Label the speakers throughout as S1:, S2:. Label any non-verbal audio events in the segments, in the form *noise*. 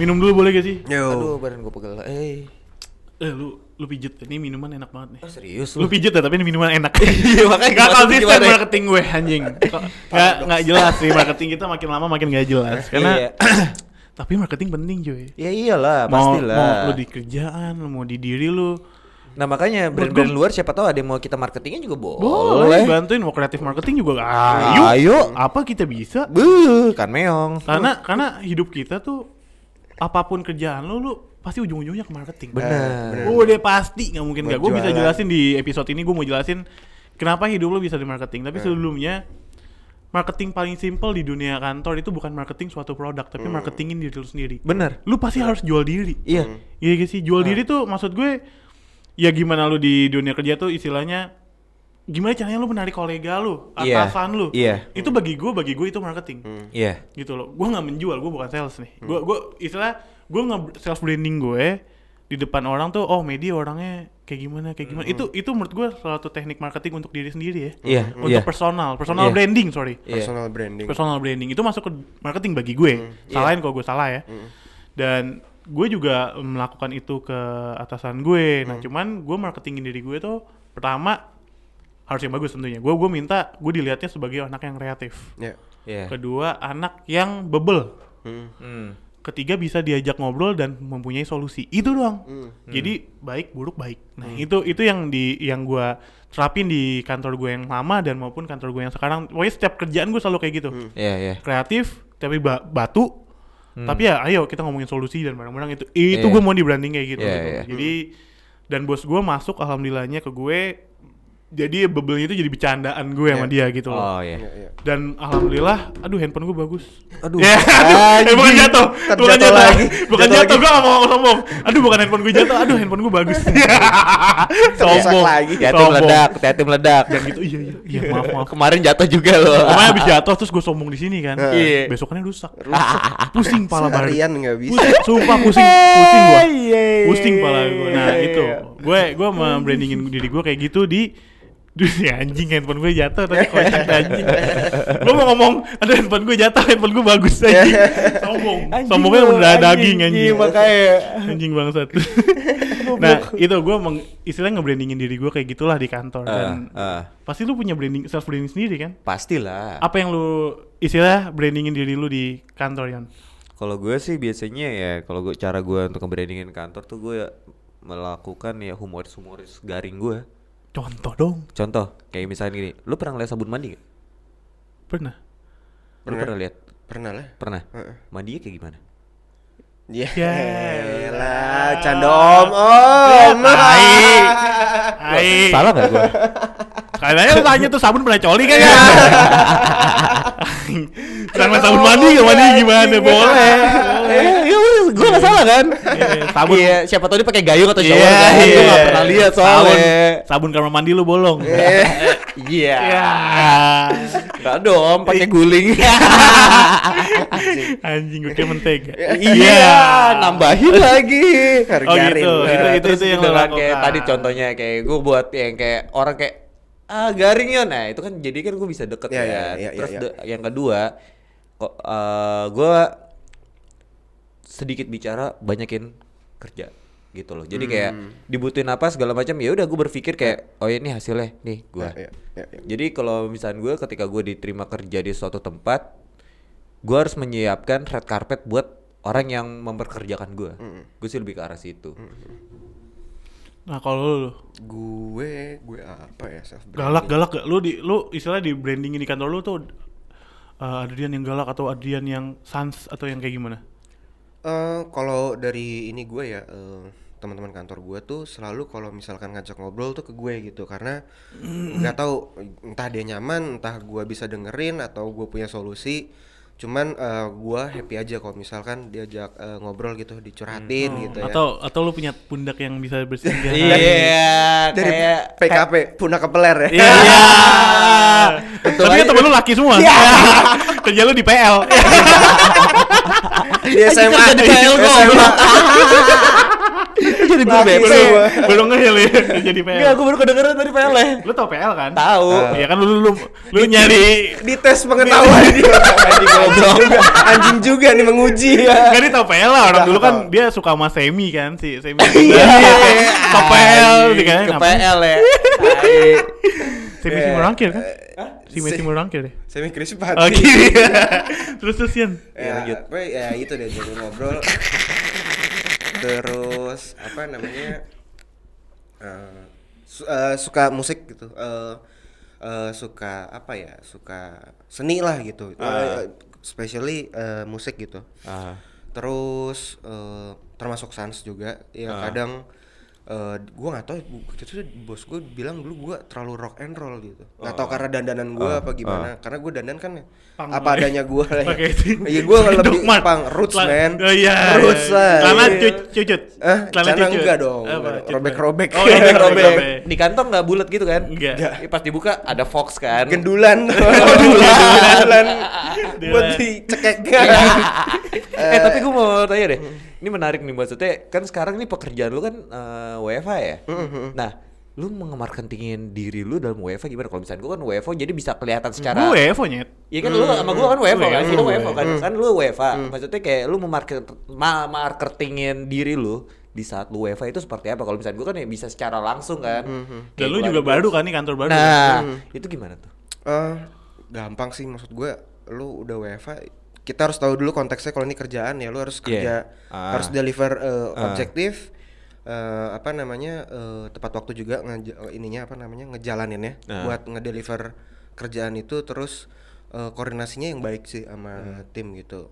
S1: minum dulu boleh gak sih?
S2: Yo.
S3: Aduh, badan gue pegel. Eh,
S1: Eh lu lu pijet, ini minuman enak banget nih.
S3: oh, serius lu?
S1: Lu pijet ya, tapi ini minuman enak.
S3: *laughs* Iya, makanya
S1: Gak
S3: maksudnya
S1: konsisten
S3: gimana ya?
S1: marketing gue anjing. Kok- Gak gak jelas sih marketing kita makin lama makin gak jelas. Karena
S3: Iya.
S1: *clears throat* tapi marketing penting cuy.
S2: Ya iyalah,
S1: Mau,
S2: pastilah.
S1: mau lu di kerjaan, lu mau di diri lu.
S3: Nah makanya
S1: Menurut
S3: brand-brand
S1: gua-
S3: luar siapa tahu ada yang mau kita marketingnya juga boleh.
S1: Boleh bantuin mau kreatif marketing juga. Ayo. Ah.
S2: Ayo.
S1: Apa kita bisa?
S2: Buh, kan meong.
S1: Karena karena hidup kita tuh apapun kerjaan lu lu pasti ujung-ujungnya ke marketing.
S2: Eh,
S3: Benar.
S1: Udah pasti nggak mungkin
S2: Buat
S1: nggak. Gue bisa
S2: jualan.
S1: jelasin di episode ini gue mau jelasin kenapa hidup lo bisa di marketing.
S2: Eh.
S1: Tapi sebelumnya marketing paling simple di dunia kantor itu bukan marketing suatu produk,
S2: Hmm.
S1: tapi marketingin diri lu sendiri.
S2: Bener.
S1: Lu pasti harus jual diri.
S2: Iya.
S1: Iya gak sih
S2: Eh.
S1: jual diri tuh maksud gue ya gimana lu di dunia kerja tuh istilahnya gimana caranya lu menarik kolega lu,
S2: Iya.
S1: atasan lu.
S2: Iya.
S1: Itu bagi gue bagi gue itu marketing
S2: Iya.
S1: gitu loh gue nggak menjual gue bukan sales nih gue
S2: Hmm.
S1: gue istilah gue nggak self branding gue di depan orang tuh oh media orangnya kayak gimana kayak gimana itu itu menurut gue salah satu teknik marketing untuk diri sendiri ya
S2: Hmm. Iya,
S1: untuk
S2: iya.
S1: personal
S2: Iya.
S1: personal branding sorry
S2: Iya. Hmm. Iya.
S4: Personal branding.
S1: personal branding itu masuk ke marketing bagi gue salahin kalau gue salah ya dan gue juga melakukan itu ke atasan gue
S2: Hmm.
S1: nah cuman gue marketingin diri gue tuh pertama harus yang bagus tentunya gue gue minta gue dilihatnya sebagai anak yang kreatif
S4: Ya.
S2: Iya.
S1: kedua anak yang bebel
S4: Hmm.
S2: Hmm.
S1: ketiga bisa diajak ngobrol dan mempunyai solusi itu doang
S4: Hmm.
S2: Hmm.
S1: jadi baik buruk baik nah itu itu yang di yang gua terapin di kantor gue yang lama dan maupun kantor gue yang sekarang pokoknya setiap kerjaan gue selalu kayak gitu
S2: Iya, iya.
S1: kreatif tapi ba- batu tapi ya ayo kita ngomongin solusi dan barang-barang itu itu
S2: Iya.
S1: gue mau di branding kayak gitu,
S2: Iya,
S1: gitu.
S2: iya.
S1: jadi dan bos gue masuk alhamdulillahnya ke gue jadi bebelnya itu jadi bercandaan gue sama dia gitu
S2: Oh,
S1: loh
S2: iya.
S4: Ya, ya.
S1: dan alhamdulillah aduh handphone gue bagus
S3: Aduh.
S1: Ya, aduh, eh, bukan
S2: Anjing.
S1: jatuh,
S2: Ntar
S1: bukan
S2: jatuh
S1: jatuh,
S2: lagi.
S1: bukan
S2: Jatuh
S1: jatuh,
S2: lagi.
S1: gue gak mau sombong. Aduh, bukan handphone gue jatuh, aduh handphone gue
S2: *laughs*
S1: bagus. sombong
S4: lagi.
S2: Hati-hati meledak, hati-hati meledak.
S1: Dan gitu, iya iya, iya maaf maaf.
S2: Kemarin jatuh juga loh.
S1: Pokoknya abis jatuh terus gue sombong di sini kan,
S2: Iya.
S1: besoknya rusak,
S2: *laughs*
S1: pusing pala
S4: Seharian
S1: bareng.
S4: nggak bisa.
S1: Pusing, sumpah pusing, pusing gue,
S2: Iya, iya,
S1: pusing
S2: iya,
S1: pala gue. Nah
S2: iya,
S1: itu,
S2: iya.
S1: gue gue membrandingin diri gue kayak gitu di dunia anjing handphone gue jatuh tadi
S2: *laughs*
S1: kocak anjing gue mau ngomong ada handphone gue jatuh handphone gue bagus aja sombong
S2: Iya. Anjing
S1: sombongnya
S2: lu,
S1: udah daging
S2: Iya,
S1: anjing
S2: makanya.
S1: anjing
S2: *laughs*
S1: bangsat nah itu gue meng istilahnya ngebrandingin diri gue kayak gitulah di kantor dan
S2: Eh, eh.
S1: pasti lu punya branding self branding sendiri kan
S2: Pastilah.
S1: apa yang lu istilah brandingin diri lu di kantor Yon
S2: Kalau gue sih biasanya ya, kalau gue cara gue untuk ngebrandingin kantor tuh gue melakukan ya humoris-humoris garing gue.
S1: contoh dong
S2: Contoh, kayak misalnya gini, lu pernah ngeliat sabun mandi gak?
S1: pernah
S2: Lu
S4: Pernah.
S2: pernah lihat?
S4: Pernah lah.
S2: Pernah.
S4: Heeh.
S2: Mandinya kayak gimana?
S4: Ya.
S1: Ya.
S4: lah, canda om Oh,
S2: Oh,
S4: om.
S1: Ya, tai. Hai
S2: Salah gak gue?
S1: kayaknya lu tanya tuh sabun pernah coli kan ya *laughs* Jangan sabun mandi gak mandi
S2: Iya.
S1: gimana boleh
S2: Eh, ya udah, gue gak salah kan?
S1: sabun-
S2: Iya, siapa tau dia pakai gayung atau shower
S4: Iya,
S2: kan? Gue
S4: iya.
S2: gak pernah lihat
S1: sabun
S2: soalnya.
S1: sabun kamar mandi lu bolong
S2: Iya.
S1: ya
S2: Gak dong, pakai *laughs* guling.
S1: Anjing gue kayak mentega.
S2: Iya, nambahin lagi. *laughs*
S1: Oh gitu. Itu
S2: Nah,
S1: itu
S2: terus
S1: itu yang lo
S2: beneran
S1: lakukan.
S2: kayak tadi contohnya kayak gue buat yang kayak orang kayak ah garing ya nah itu kan jadi kan gue bisa deket
S4: Iya,
S2: ya,
S4: iya, iya,
S2: terus
S4: iya,
S2: de- yang kedua kok gue sedikit bicara banyakin kerja gitu loh jadi kayak
S4: Hmm.
S2: dibutuhin apa segala macam ya udah gue berpikir kayak oh ini hasilnya nih gue
S4: Iya, iya, iya.
S2: jadi kalau misalnya gue ketika gue diterima kerja di suatu tempat, gue harus menyiapkan red carpet buat orang yang memperkerjakan gue.
S4: Hmm.
S2: Gue sih lebih ke arah situ.
S1: Nah kalau lu, lu
S4: Gue, gue apa ya self
S1: galak galak gak? Lu di lu istilah di brandingin di kantor lu tuh eh, Adrian yang galak atau Adrian yang sans atau yang kayak gimana?
S4: Eh, kalau dari ini gue ya eh, teman-teman kantor gue tuh selalu kalau misalkan ngajak ngobrol tuh ke gue gitu karena nggak tahu entah dia nyaman entah gue bisa dengerin atau gue punya solusi cuman eh, gue happy aja kalau misalkan diajak eh, ngobrol gitu dicurhatin gitu ya
S1: Atau atau lu punya pundak yang bisa bersejarah?
S4: dari PKP punah kepeler ya
S1: Iya.
S4: *laughs*
S2: Betul
S1: Tapi kan
S2: aja.
S1: temen lu laki semua. Kerja lu di PL.
S4: di SMA
S2: Anjing kerja di PL,
S4: *laughs* SMA.
S2: goblok. Jadi jadi
S1: belum
S2: BP.
S1: belum belum ngehil ya udah jadi PL
S2: Enggak, gue baru kedengeran tadi PL ya.
S1: lu tau PL kan
S2: Tahu.
S1: ya kan lu lu lu nyari
S4: di tes pengetahuan anjing goblok anjing juga nih menguji ya
S1: Gak dia tau PL lah orang dulu kan
S4: Tahu.
S1: dia suka sama Semi kan si Semi iya, ke PL sih kan
S2: Iya. Ke PL ya.
S1: Semi
S4: Iya.
S1: Simi Rangkir kan Semi
S4: Se-
S1: Simi Rangkir deh
S4: semi krispati
S1: Oke
S4: *laughs*
S1: terus terus Yan
S4: ya, gue ya itu deh jadi ngobrol terus apa namanya eh, su- eh, suka musik gitu Eh, eh, suka apa ya suka seni lah gitu Eh, especially eh, musik gitu terus eh, termasuk sans juga ya kadang eh gue nggak tahu waktu itu bos gue bilang dulu gue terlalu rock and roll gitu nggak tahu karena dandanan gue apa gimana karena gue dandan kan ya
S1: Punk
S4: apa
S1: lah ya.
S4: adanya gue lah ya.
S1: Pakai itu.
S4: iya gue
S1: Pakai
S4: lebih
S1: dogmat.
S4: pang roots
S1: Tela-
S4: man
S1: Oh iya.
S4: roots lah
S1: Celana
S4: Iya.
S1: cu- cucut.
S4: Eh,
S1: Celana
S4: celana
S1: cucut.
S4: enggak dong,
S1: Apa?
S4: enggak dong.
S1: Cucut.
S4: Robek-robek.
S1: Oh,
S4: *laughs*
S1: iya,
S4: Robek-robek.
S1: robek-robek.
S2: Di kantong enggak bulat gitu kan?
S1: Enggak.
S2: Eh, Pas dibuka ada Fox kan.
S1: *laughs*
S4: gendulan
S1: Oh,
S4: gendulan buat dicekek
S2: eh
S1: Iya.
S2: tapi gue mau tanya deh, ini menarik nih maksudnya kan sekarang ini pekerjaan lu kan eh, WFH ya. Nah, lu mengemarketingin diri lu dalam WFH gimana? Kalau misalnya gue kan WFH jadi bisa kelihatan secara
S1: Gue Evo nyet.
S2: Iya kan lu sama gua kan WFH kan,
S1: Hmm.
S2: kita WFH kan, kan lu WFH. Maksudnya kayak lu memarket ma marketingin diri lu di saat lu WFH itu seperti apa? Kalau misalnya gua kan ya bisa secara langsung kan.
S1: Dan
S2: Kayak
S1: lu
S2: gua-
S1: juga baru kan nih kantor baru.
S2: Nah, itu gimana tuh?
S4: Eh, gampang sih maksud gue lu udah WFA kita harus tahu dulu konteksnya kalau ini kerjaan ya lu harus
S2: Iya.
S4: kerja
S2: Ah.
S4: harus deliver eh, objektif eh, apa namanya eh, tepat waktu juga ngeja- ininya apa namanya ngejalaninnya
S2: Ah.
S4: buat ngedeliver kerjaan itu terus eh, koordinasinya yang baik sih
S2: Ah.
S4: sama tim gitu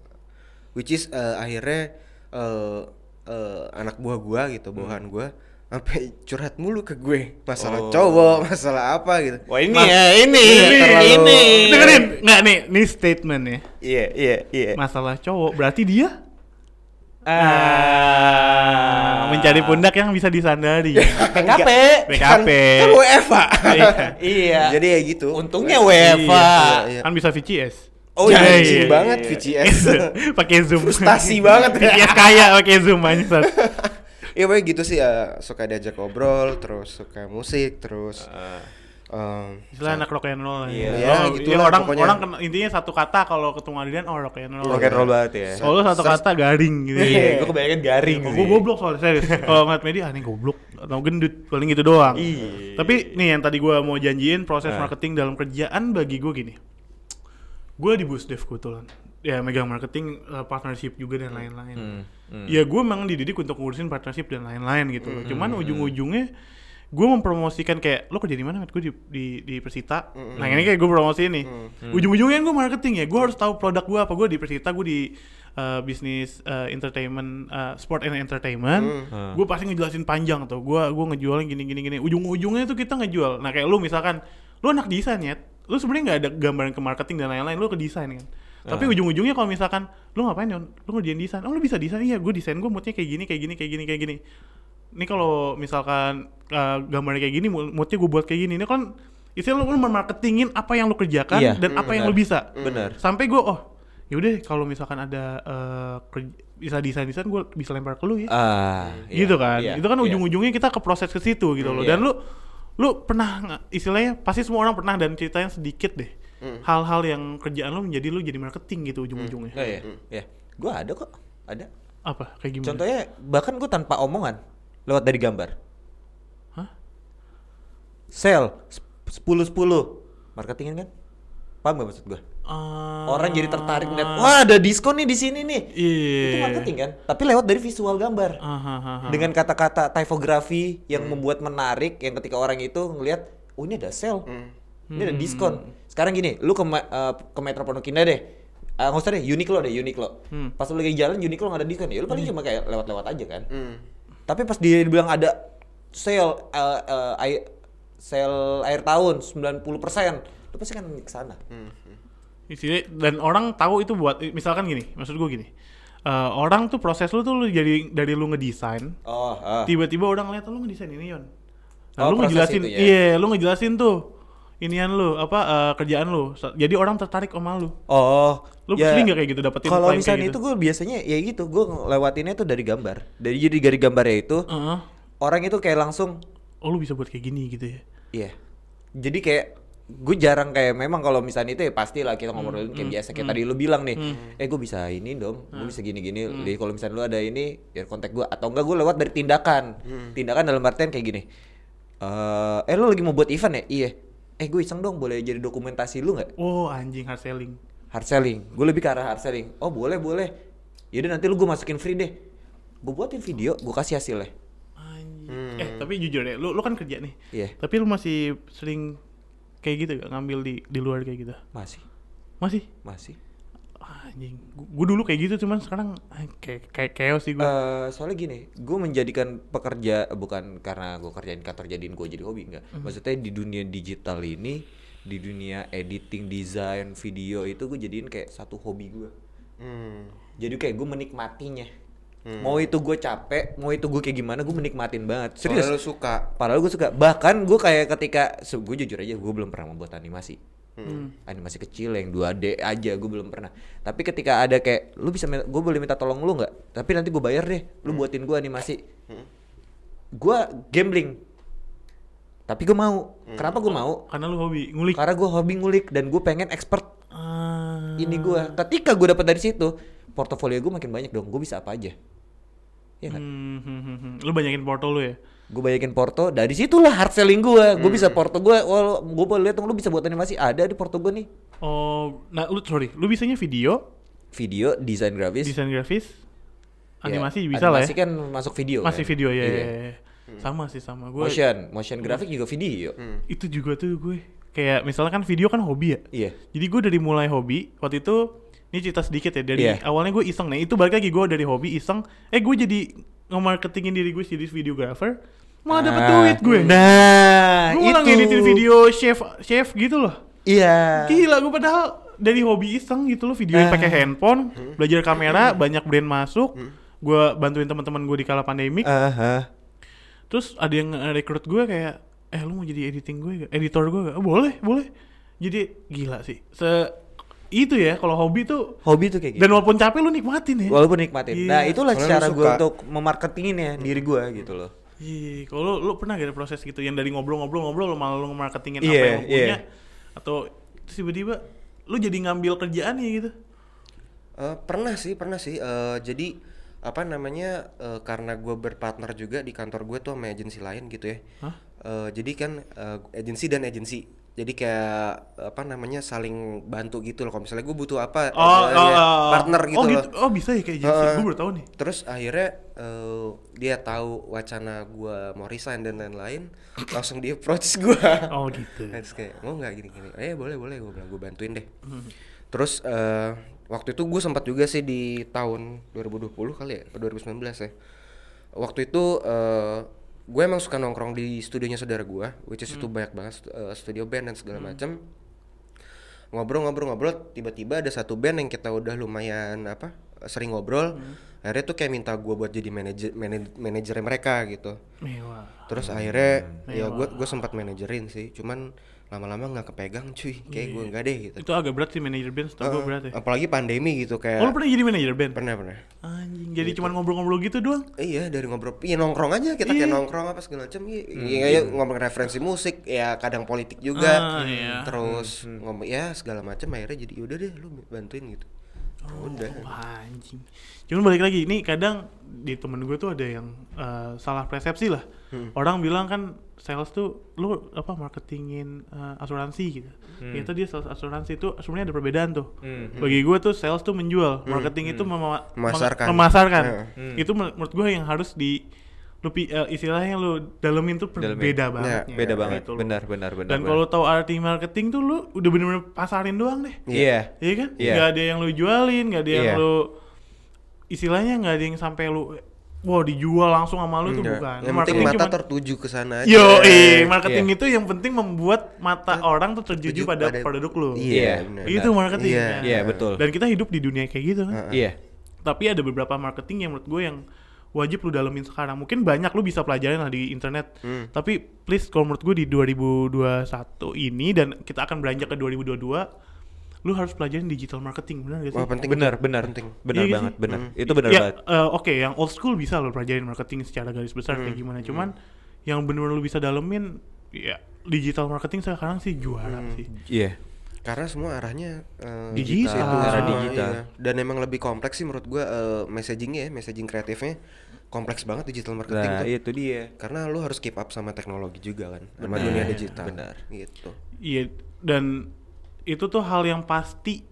S4: which is eh, akhirnya eh, eh, anak buah gua gitu
S2: Hmm.
S4: bawahan gua sampai curhat mulu ke gue masalah cowok masalah apa gitu
S2: Oh. Wah ini ya, ini,
S4: Ini, ini.
S1: Dengerin, nggak nih, nih statement ya.
S2: Iya, iya, iya.
S1: Masalah cowok, berarti dia
S2: Ah,
S1: mencari pundak yang bisa disandari.
S4: Iya.
S2: PKP.
S1: BKP.
S4: Kan WFA. *laughs*
S2: Iya.
S4: Jadi ya gitu.
S2: untungnya WFH.
S4: Iya, iya.
S1: Kan bisa VCS.
S4: Oh,
S1: Iya,
S4: iya,
S1: iya.
S4: anjing banget VCS.
S1: *laughs* pakai Zoom.
S4: Frustasi banget ya.
S1: VCS kaya pakai Zoom anjir.
S4: Iya pokoknya gitu sih ya, suka diajak ngobrol, terus suka musik, terus em,
S1: Istilah anak rock and roll lah ya.
S4: Iya,
S1: Oh,
S4: gitu
S1: iya,
S4: lah
S1: orang
S4: pokoknya.
S1: orang kena- intinya satu kata kalau ketemu Adidan oh rock and roll.
S5: Rock and roll banget ya.
S1: Kalau lu satu kata garing gitu.
S2: Iya, gua kebayangin garing
S1: Oh,
S2: sih.
S1: gue goblok soalnya serius. Kalau ngeliat media aneh goblok atau gendut paling gitu doang. Tapi nih yang tadi gua mau janjiin proses marketing dalam kerjaan bagi gue gini. Gue di Busdev kebetulan. Ya megang marketing eh, partnership juga dan lain-lain. Ya gue memang dididik untuk ngurusin partnership dan lain-lain gitu. loh. Cuman ujung-ujungnya gue mempromosikan kayak lo kerja di mana? Gue di, di di Persita. Nah ini kayak gue promosiin nih. Ujung-ujungnya gue marketing ya. Gue harus tahu produk gue apa. Gue di Persita, gue di eh, bisnis eh, entertainment, eh, sport and entertainment. Gue pasti ngejelasin panjang tuh. Gue gue ngejualnya gini-gini gini. Ujung-ujungnya tuh kita ngejual. Nah kayak lu misalkan, lu anak desain ya. Lu sebenarnya nggak ada gambaran ke marketing dan lain-lain. Lu ke desain kan. Tapi ujung-ujungnya kalau misalkan lu ngapain Yon? Lu ngerjain desain. Oh lu bisa desain? Iya, gue desain gue moodnya kayak gini, kayak gini, kayak gini, kayak gini. Ini kalau misalkan eh, gambarnya kayak gini, mood- moodnya gue buat kayak gini. Ini kan istilah lu memarketingin apa yang lu kerjakan
S2: Iya,
S1: dan apa yang lu bisa.
S5: Bener.
S1: Sampai gue oh yaudah kalau misalkan ada eh, kerj- bisa desain desain gue bisa lempar ke lu ya
S2: Ah, iya,
S1: gitu kan
S2: iya,
S1: itu kan
S2: iya.
S1: ujung-ujungnya kita ke proses ke situ gitu loh dan lu lu pernah nggak- istilahnya pasti semua orang pernah dan ceritain sedikit deh
S2: Hmm.
S1: hal-hal yang kerjaan lu menjadi lu jadi marketing gitu ujung-ujungnya
S2: Oh iya, iya. Gua ada kok, ada.
S1: apa kayak gimana
S2: Contohnya bahkan gue tanpa omongan lewat dari gambar.
S1: Hah?
S2: Sel 10 10 marketingin kan? Paham gak maksud gue?
S1: Ah,
S2: Orang jadi tertarik lihat, wah ada diskon nih di sini nih.
S1: iya Ah,
S2: Itu marketing kan? Tapi lewat dari visual gambar.
S1: Aha, aha, aha.
S2: Dengan kata-kata typografi yang membuat menarik yang ketika orang itu ngelihat, oh ini ada sale. Ini ada diskon. Sekarang gini, lu ke ma- eh, ke Metro Pondok Indah deh. Eh, nggak usah deh, Uniqlo deh, Uniqlo. Pas lu lagi jalan Uniqlo nggak ada diskon, ya lu paling cuma kayak lewat-lewat aja kan.
S4: Hmm.
S2: Tapi pas dia bilang ada sale eh, eh, ai- sale air tahun 90%, lu pasti kan ke sana.
S1: Istilahnya- dan orang tahu itu buat misalkan gini maksud gue gini eh, orang tuh proses lu tuh lu jadi dari lu ngedesain
S2: Oh, ah.
S1: tiba-tiba orang lihat lu ngedesain ini Yon nah,
S2: Oh,
S1: lu
S2: proses
S1: ngejelasin
S2: itu ya.
S1: iya lu ngejelasin tuh inian lu apa eh, kerjaan lu Sa- jadi orang tertarik sama lu
S2: Oh,
S1: Lu sering nggak kayak gitu dapetin
S2: Kalau
S1: klien kayak
S2: misalnya
S1: gitu?
S2: itu gue biasanya ya gitu, gue lewatinnya tuh dari gambar. Dari jadi dari gambarnya itu
S1: Heeh.
S2: orang itu kayak langsung
S1: oh lu bisa buat kayak gini gitu ya
S2: Iya. Jadi kayak gue jarang kayak memang kalau misalnya itu ya pasti lah kita ngobrolin
S1: Hmm,
S2: kayak biasa kayak tadi lu bilang nih eh gue bisa ini dong gue bisa gini gini
S1: Hmm.
S2: jadi kalau misalnya lu ada ini ya kontak gue atau enggak gue lewat dari tindakan tindakan dalam artian kayak gini Eh, eh lu lagi mau buat event ya iya eh gue iseng dong boleh jadi dokumentasi lu nggak
S1: oh anjing hard selling
S2: hard selling gue lebih ke arah hard selling oh boleh boleh yaudah nanti lu gue masukin free deh gue buatin video gue kasih hasilnya
S1: anjing eh tapi jujur deh lu lu kan kerja nih
S2: Iya.
S1: tapi lu masih sering kayak gitu gak ngambil di di luar kayak gitu
S2: masih
S1: masih
S2: masih
S1: anjing gue dulu kayak gitu cuman sekarang ah, kayak kayak chaos sih gue
S2: Eh, soalnya gini, gue menjadikan pekerja bukan karena gue kerjain kantor jadiin gue jadi hobi enggak. Maksudnya di dunia digital ini, di dunia editing, desain, video itu gue jadiin kayak satu hobi gue.
S4: Hmm.
S2: Jadi kayak gue menikmatinya. Mau itu gue capek, mau itu gue kayak gimana, gue menikmatin banget. Serius.
S4: Soalnya lu suka.
S2: Padahal gue suka. Bahkan gue kayak ketika, gue jujur aja, gue belum pernah membuat animasi. Animasi kecil yang 2D aja, gue belum pernah. Tapi ketika ada kayak, lu bisa, gue boleh minta tolong lu nggak? Tapi nanti gue bayar deh, lu buatin gue animasi. Gue gambling. Tapi gue mau. Kenapa gue mau?
S1: karena lu hobi ngulik
S2: Karena gue hobi ngulik dan gue pengen expert
S1: Ah,
S2: ini gue. Ketika gue dapat dari situ, portofolio gue makin banyak dong. Gue bisa apa aja. Ya kan?
S1: hmm, hmm, hmm, hmm. lu banyakin portal lu ya
S2: gue bayakin porto dari situlah hard selling gue gue
S1: Hmm.
S2: bisa porto gue oh gue boleh lihat dong, lu bisa buat animasi ada di porto gue nih
S1: oh nah lu sorry lu bisanya video
S2: video desain grafis
S1: desain grafis
S2: ya,
S1: animasi bisa lah
S2: animasi
S1: ya
S2: kan masuk video
S1: masih
S2: kan?
S1: video
S2: Iya.
S1: ya,
S2: ya?
S1: ya, ya. sama sih sama gue
S2: motion motion grafik juga video
S4: Hmm.
S1: itu juga tuh gue kayak misalnya kan video kan hobi ya
S2: iya
S1: jadi gue dari mulai hobi waktu itu ini cerita sedikit ya dari
S2: Iya.
S1: awalnya gue iseng nah itu balik lagi gue dari hobi iseng eh gue jadi nge-marketingin diri gue jadi videographer malah dapet
S2: Ah,
S1: duit gue
S2: nah
S1: gue ulang
S2: itu
S1: editin video chef chef gitu loh
S2: iya
S1: gila gue padahal dari hobi iseng gitu loh videoin
S2: Ah.
S1: pakai handphone belajar kamera banyak brand masuk
S2: Hmm.
S1: gue bantuin teman-teman gue di kala pandemik
S2: Aha.
S1: terus ada yang rekrut gue kayak eh lu mau jadi editing gue gak? editor gue gak? "Oh, boleh boleh jadi gila sih se itu ya kalau hobi tuh
S2: hobi tuh kayak gitu
S1: dan walaupun capek lu nikmatin ya
S2: walaupun nikmatin
S1: Iya.
S2: nah itulah
S4: Soalnya lu
S2: cara gue
S4: suka. Hmm.
S2: untuk memarketingin ya diri gue gitu loh
S1: Iya, kalau lu, lu pernah gak ada proses gitu yang dari ngobrol-ngobrol-ngobrol lu malah lu marketingin apa
S2: Iya,
S1: yang lu punya
S2: iya.
S1: atau terus tiba-tiba lu jadi ngambil kerjaan ya gitu.
S4: Eh, pernah sih, pernah sih. Eh, jadi apa namanya? eh, karena gue berpartner juga di kantor gue tuh sama agensi lain gitu ya.
S1: Hah?
S4: Eh, jadi kan eh, agensi dan agensi. Jadi kayak apa namanya saling bantu gitu loh. Kalau misalnya gue butuh apa, eh, ya, partner gitu,
S1: oh,
S4: loh. Eh.
S1: Oh, bisa ya kayak agensi.
S4: Heeh.
S1: Gue baru tahu nih.
S4: Terus akhirnya eh, dia tahu wacana gue mau resign dan lain-lain, langsung dia approach gue.
S1: Oh, gitu.
S4: Terus kayak mau nggak gini-gini? Eh boleh boleh gue bilang gue bantuin deh. Terus eh, waktu itu gue sempat juga sih di tahun 2020 kali ya, atau 2019 ya. Waktu itu eh, gue emang suka nongkrong di studionya saudara gue, which is itu banyak banget stu- eh, studio band dan segala macem ngobrol-ngobrol-ngobrol tiba-tiba ada satu band yang kita udah lumayan apa sering ngobrol akhirnya tuh kayak minta gue buat jadi manajer manaj- manajernya mereka gitu
S1: Mewah.
S4: terus akhirnya
S1: Iya,
S4: ya gue gue sempat manajerin sih cuman lama-lama nggak kepegang cuy kayak gue nggak deh gitu
S1: Iya. Itu agak berat sih manajer band, setahu gue
S4: Heeh,
S1: berat ya.
S4: apalagi pandemi gitu kayak
S1: Oh, lu pernah jadi manajer band?
S4: Eh, pernah pernah
S1: Anjing, jadi cuman ngobrol-ngobrol gitu doang.
S4: Eh, iya dari ngobrol iya nongkrong aja kita kayak nongkrong apa segala macam iya
S1: Hmm.
S4: iya, iya, ngomong referensi musik ya kadang politik juga
S1: Ah, iya.
S4: terus ngomong ya segala macam akhirnya jadi "Ya udah deh lu bantuin gitu udah
S1: Wah, Oh, anjing. Cuman balik lagi, ini kadang di temen gue tuh ada yang eh, salah persepsi lah.
S5: Hmm.
S1: Orang bilang kan sales tuh lu apa marketingin eh, asuransi gitu. Ternyata dia sales asuransi itu sebenarnya ada perbedaan tuh.
S5: Hmm.
S1: Bagi gue tuh sales tuh menjual, marketing itu mema- meng-
S4: Memasarkan.
S1: memasarkan.
S5: Hmm.
S4: Iya.
S1: Itu men- menurut gue yang harus di lu pi- eh, istilahnya lu dalemin tuh per-
S5: Dalemin. Ya,
S1: beda banget.
S4: Iya,
S5: beda banget
S1: Gitu loh.
S5: benar benar benar
S1: Dan
S5: benar.
S1: kalau tahu arti marketing tuh lu udah bener-bener pasarin doang deh.
S5: iya
S1: Iya kan?
S5: Iya.
S1: Nggak ada yang lu jualin, nggak ada yang
S5: Iya.
S1: lu istilahnya nggak ada yang sampai lu wah dijual langsung sama lu tuh
S4: Enggak.
S1: bukan.
S4: yang penting
S1: Marketing
S4: mata Iya.
S1: cuman-
S4: tertuju ke sana aja.
S1: Yo, eh, marketing
S5: Iya.
S1: itu yang penting membuat mata orang tuh tertuju
S4: Tertuju
S1: pada,
S4: pada-
S1: produk lu.
S4: iya
S5: Iya.
S4: benar.
S1: Itu marketing.
S4: Iya.
S1: ya.
S5: iya betul
S1: Dan kita hidup di dunia kayak gitu kan.
S4: Nah.
S5: iya
S1: Tapi ada beberapa marketing yang menurut gue yang wajib lu dalemin sekarang. Mungkin banyak lu bisa pelajarin lah di internet.
S5: Hmm.
S1: Tapi please kalau menurut gue di 2021 ini dan kita akan beranjak ke 2022 lu harus pelajarin digital marketing benar gak sih?
S4: Wah, penting.
S5: Bener, bener,
S4: Penting. Hmm.
S5: bener
S1: Iya gak
S5: banget,
S1: sih?
S5: bener. Itu bener
S1: ya,
S5: banget.
S1: eh, Oke, yang old school bisa lo pelajarin marketing secara garis besar
S5: Hmm.
S1: kayak gimana. Cuman yang benar-benar lo bisa dalemin, ya digital marketing sekarang sih juara sih.
S5: Iya.
S4: Karena semua arahnya eh,
S1: Digital.
S4: itu
S1: Arah
S4: semua,
S5: digital.
S4: iya. Dan emang lebih kompleks sih menurut gua eh, messagingnya, ya, messaging kreatifnya kompleks banget digital marketing
S5: Nah,
S4: tuh.
S5: itu dia.
S4: Karena lu harus keep up sama teknologi juga kan, sama dunia digital.
S5: benar.
S4: Gitu.
S1: Iya, dan itu tuh hal yang pasti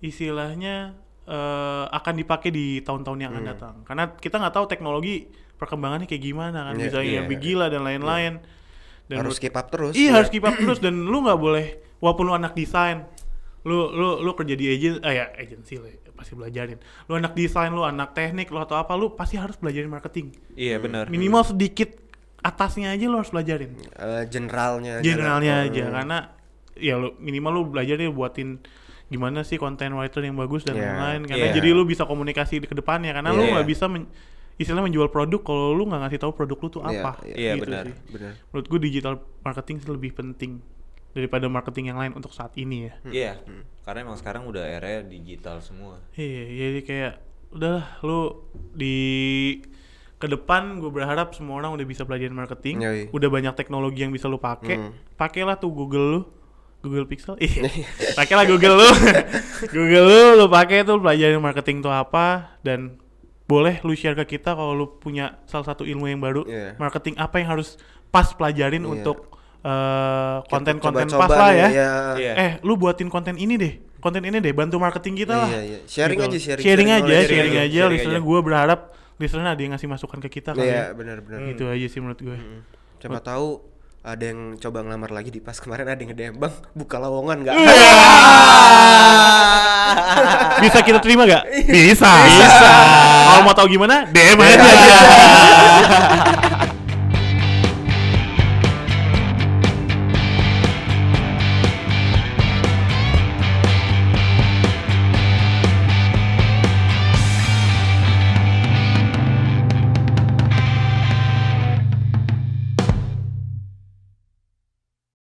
S1: istilahnya eh, akan dipakai di tahun-tahun yang akan
S4: Hmm.
S1: datang. Karena kita nggak tahu teknologi perkembangannya kayak gimana kan,
S4: Iya,
S1: bisa
S4: iya,
S1: yang lebih gila dan lain-lain. Dan
S4: harus
S1: menurut-
S4: keep up terus.
S1: Iya
S4: ya.
S1: harus keep up terus dan lu nggak boleh walaupun lu anak desain, lu lu lu kerja di agen, eh ya agensi lah ya, pasti belajarin. Lu anak desain, lu anak teknik, lu atau apa, lu pasti harus belajarin marketing.
S5: Iya, bener.
S1: Hmm. Minimal sedikit atasnya aja lu harus belajarin.
S4: Eh,
S5: Iya,
S4: generalnya. Hmm,
S1: Generalnya
S4: general.
S1: aja karena ya lu minimal lu belajar deh buatin gimana sih content writer yang bagus
S5: Iya,
S1: dan
S4: Yeah.
S1: lain-lain karena
S5: Yeah.
S1: jadi lu bisa komunikasi di kedepannya karena lu
S5: Yeah.
S1: nggak bisa men- istilahnya menjual produk kalau lu nggak ngasih tahu produk lu tuh
S4: Yeah,
S1: apa Gitu
S4: yeah.
S5: Iya, benar.
S1: sih
S4: Benar.
S1: menurut gue digital marketing sih lebih penting daripada marketing yang lain untuk saat ini ya.
S5: Iya.
S4: Hmm.
S5: Karena emang sekarang udah era digital semua.
S1: Iya, jadi kayak udahlah lu di ke depan gue berharap semua orang udah bisa belajar marketing,
S4: Yoi.
S1: udah banyak teknologi yang bisa lu pakai.
S4: Hmm.
S1: Pakailah tuh Google lu, Google Pixel. *laughs* Ih,
S4: Iya.
S1: pakailah Google lu. *laughs* Google lu lu pakai tuh pelajarin marketing tuh apa dan boleh lu share ke kita kalau lu punya salah satu ilmu yang baru,
S4: Iya.
S1: marketing apa yang harus pas pelajarin
S4: Iya.
S1: untuk eh,
S4: Kita
S1: konten-konten
S4: coba-coba
S1: pas lah
S4: nih,
S1: ya.
S5: Iya.
S1: Eh, lu buatin konten ini deh. Konten ini deh bantu marketing kita lah.
S4: Iya, iya. Sharing aja, Iya. sharing, sharing
S1: aja,
S4: knowledge,
S1: Gitu. sharing
S5: sharing
S1: aja.
S5: aja.
S1: Listener gue berharap listener ada yang ngasih masukan ke kita kali.
S4: Iya, Hmm.
S1: ya.
S4: benar benar.
S5: Hmm.
S1: Gitu aja sih menurut gue.
S4: Coba tahu ada yang coba ngelamar lagi di pas kemarin ada yang nge-DM, "Bang, buka lowongan enggak?"
S1: Bisa kita terima
S4: *laughs*
S1: gak? Bisa. Bisa. Kalau mau tahu gimana, DM aja.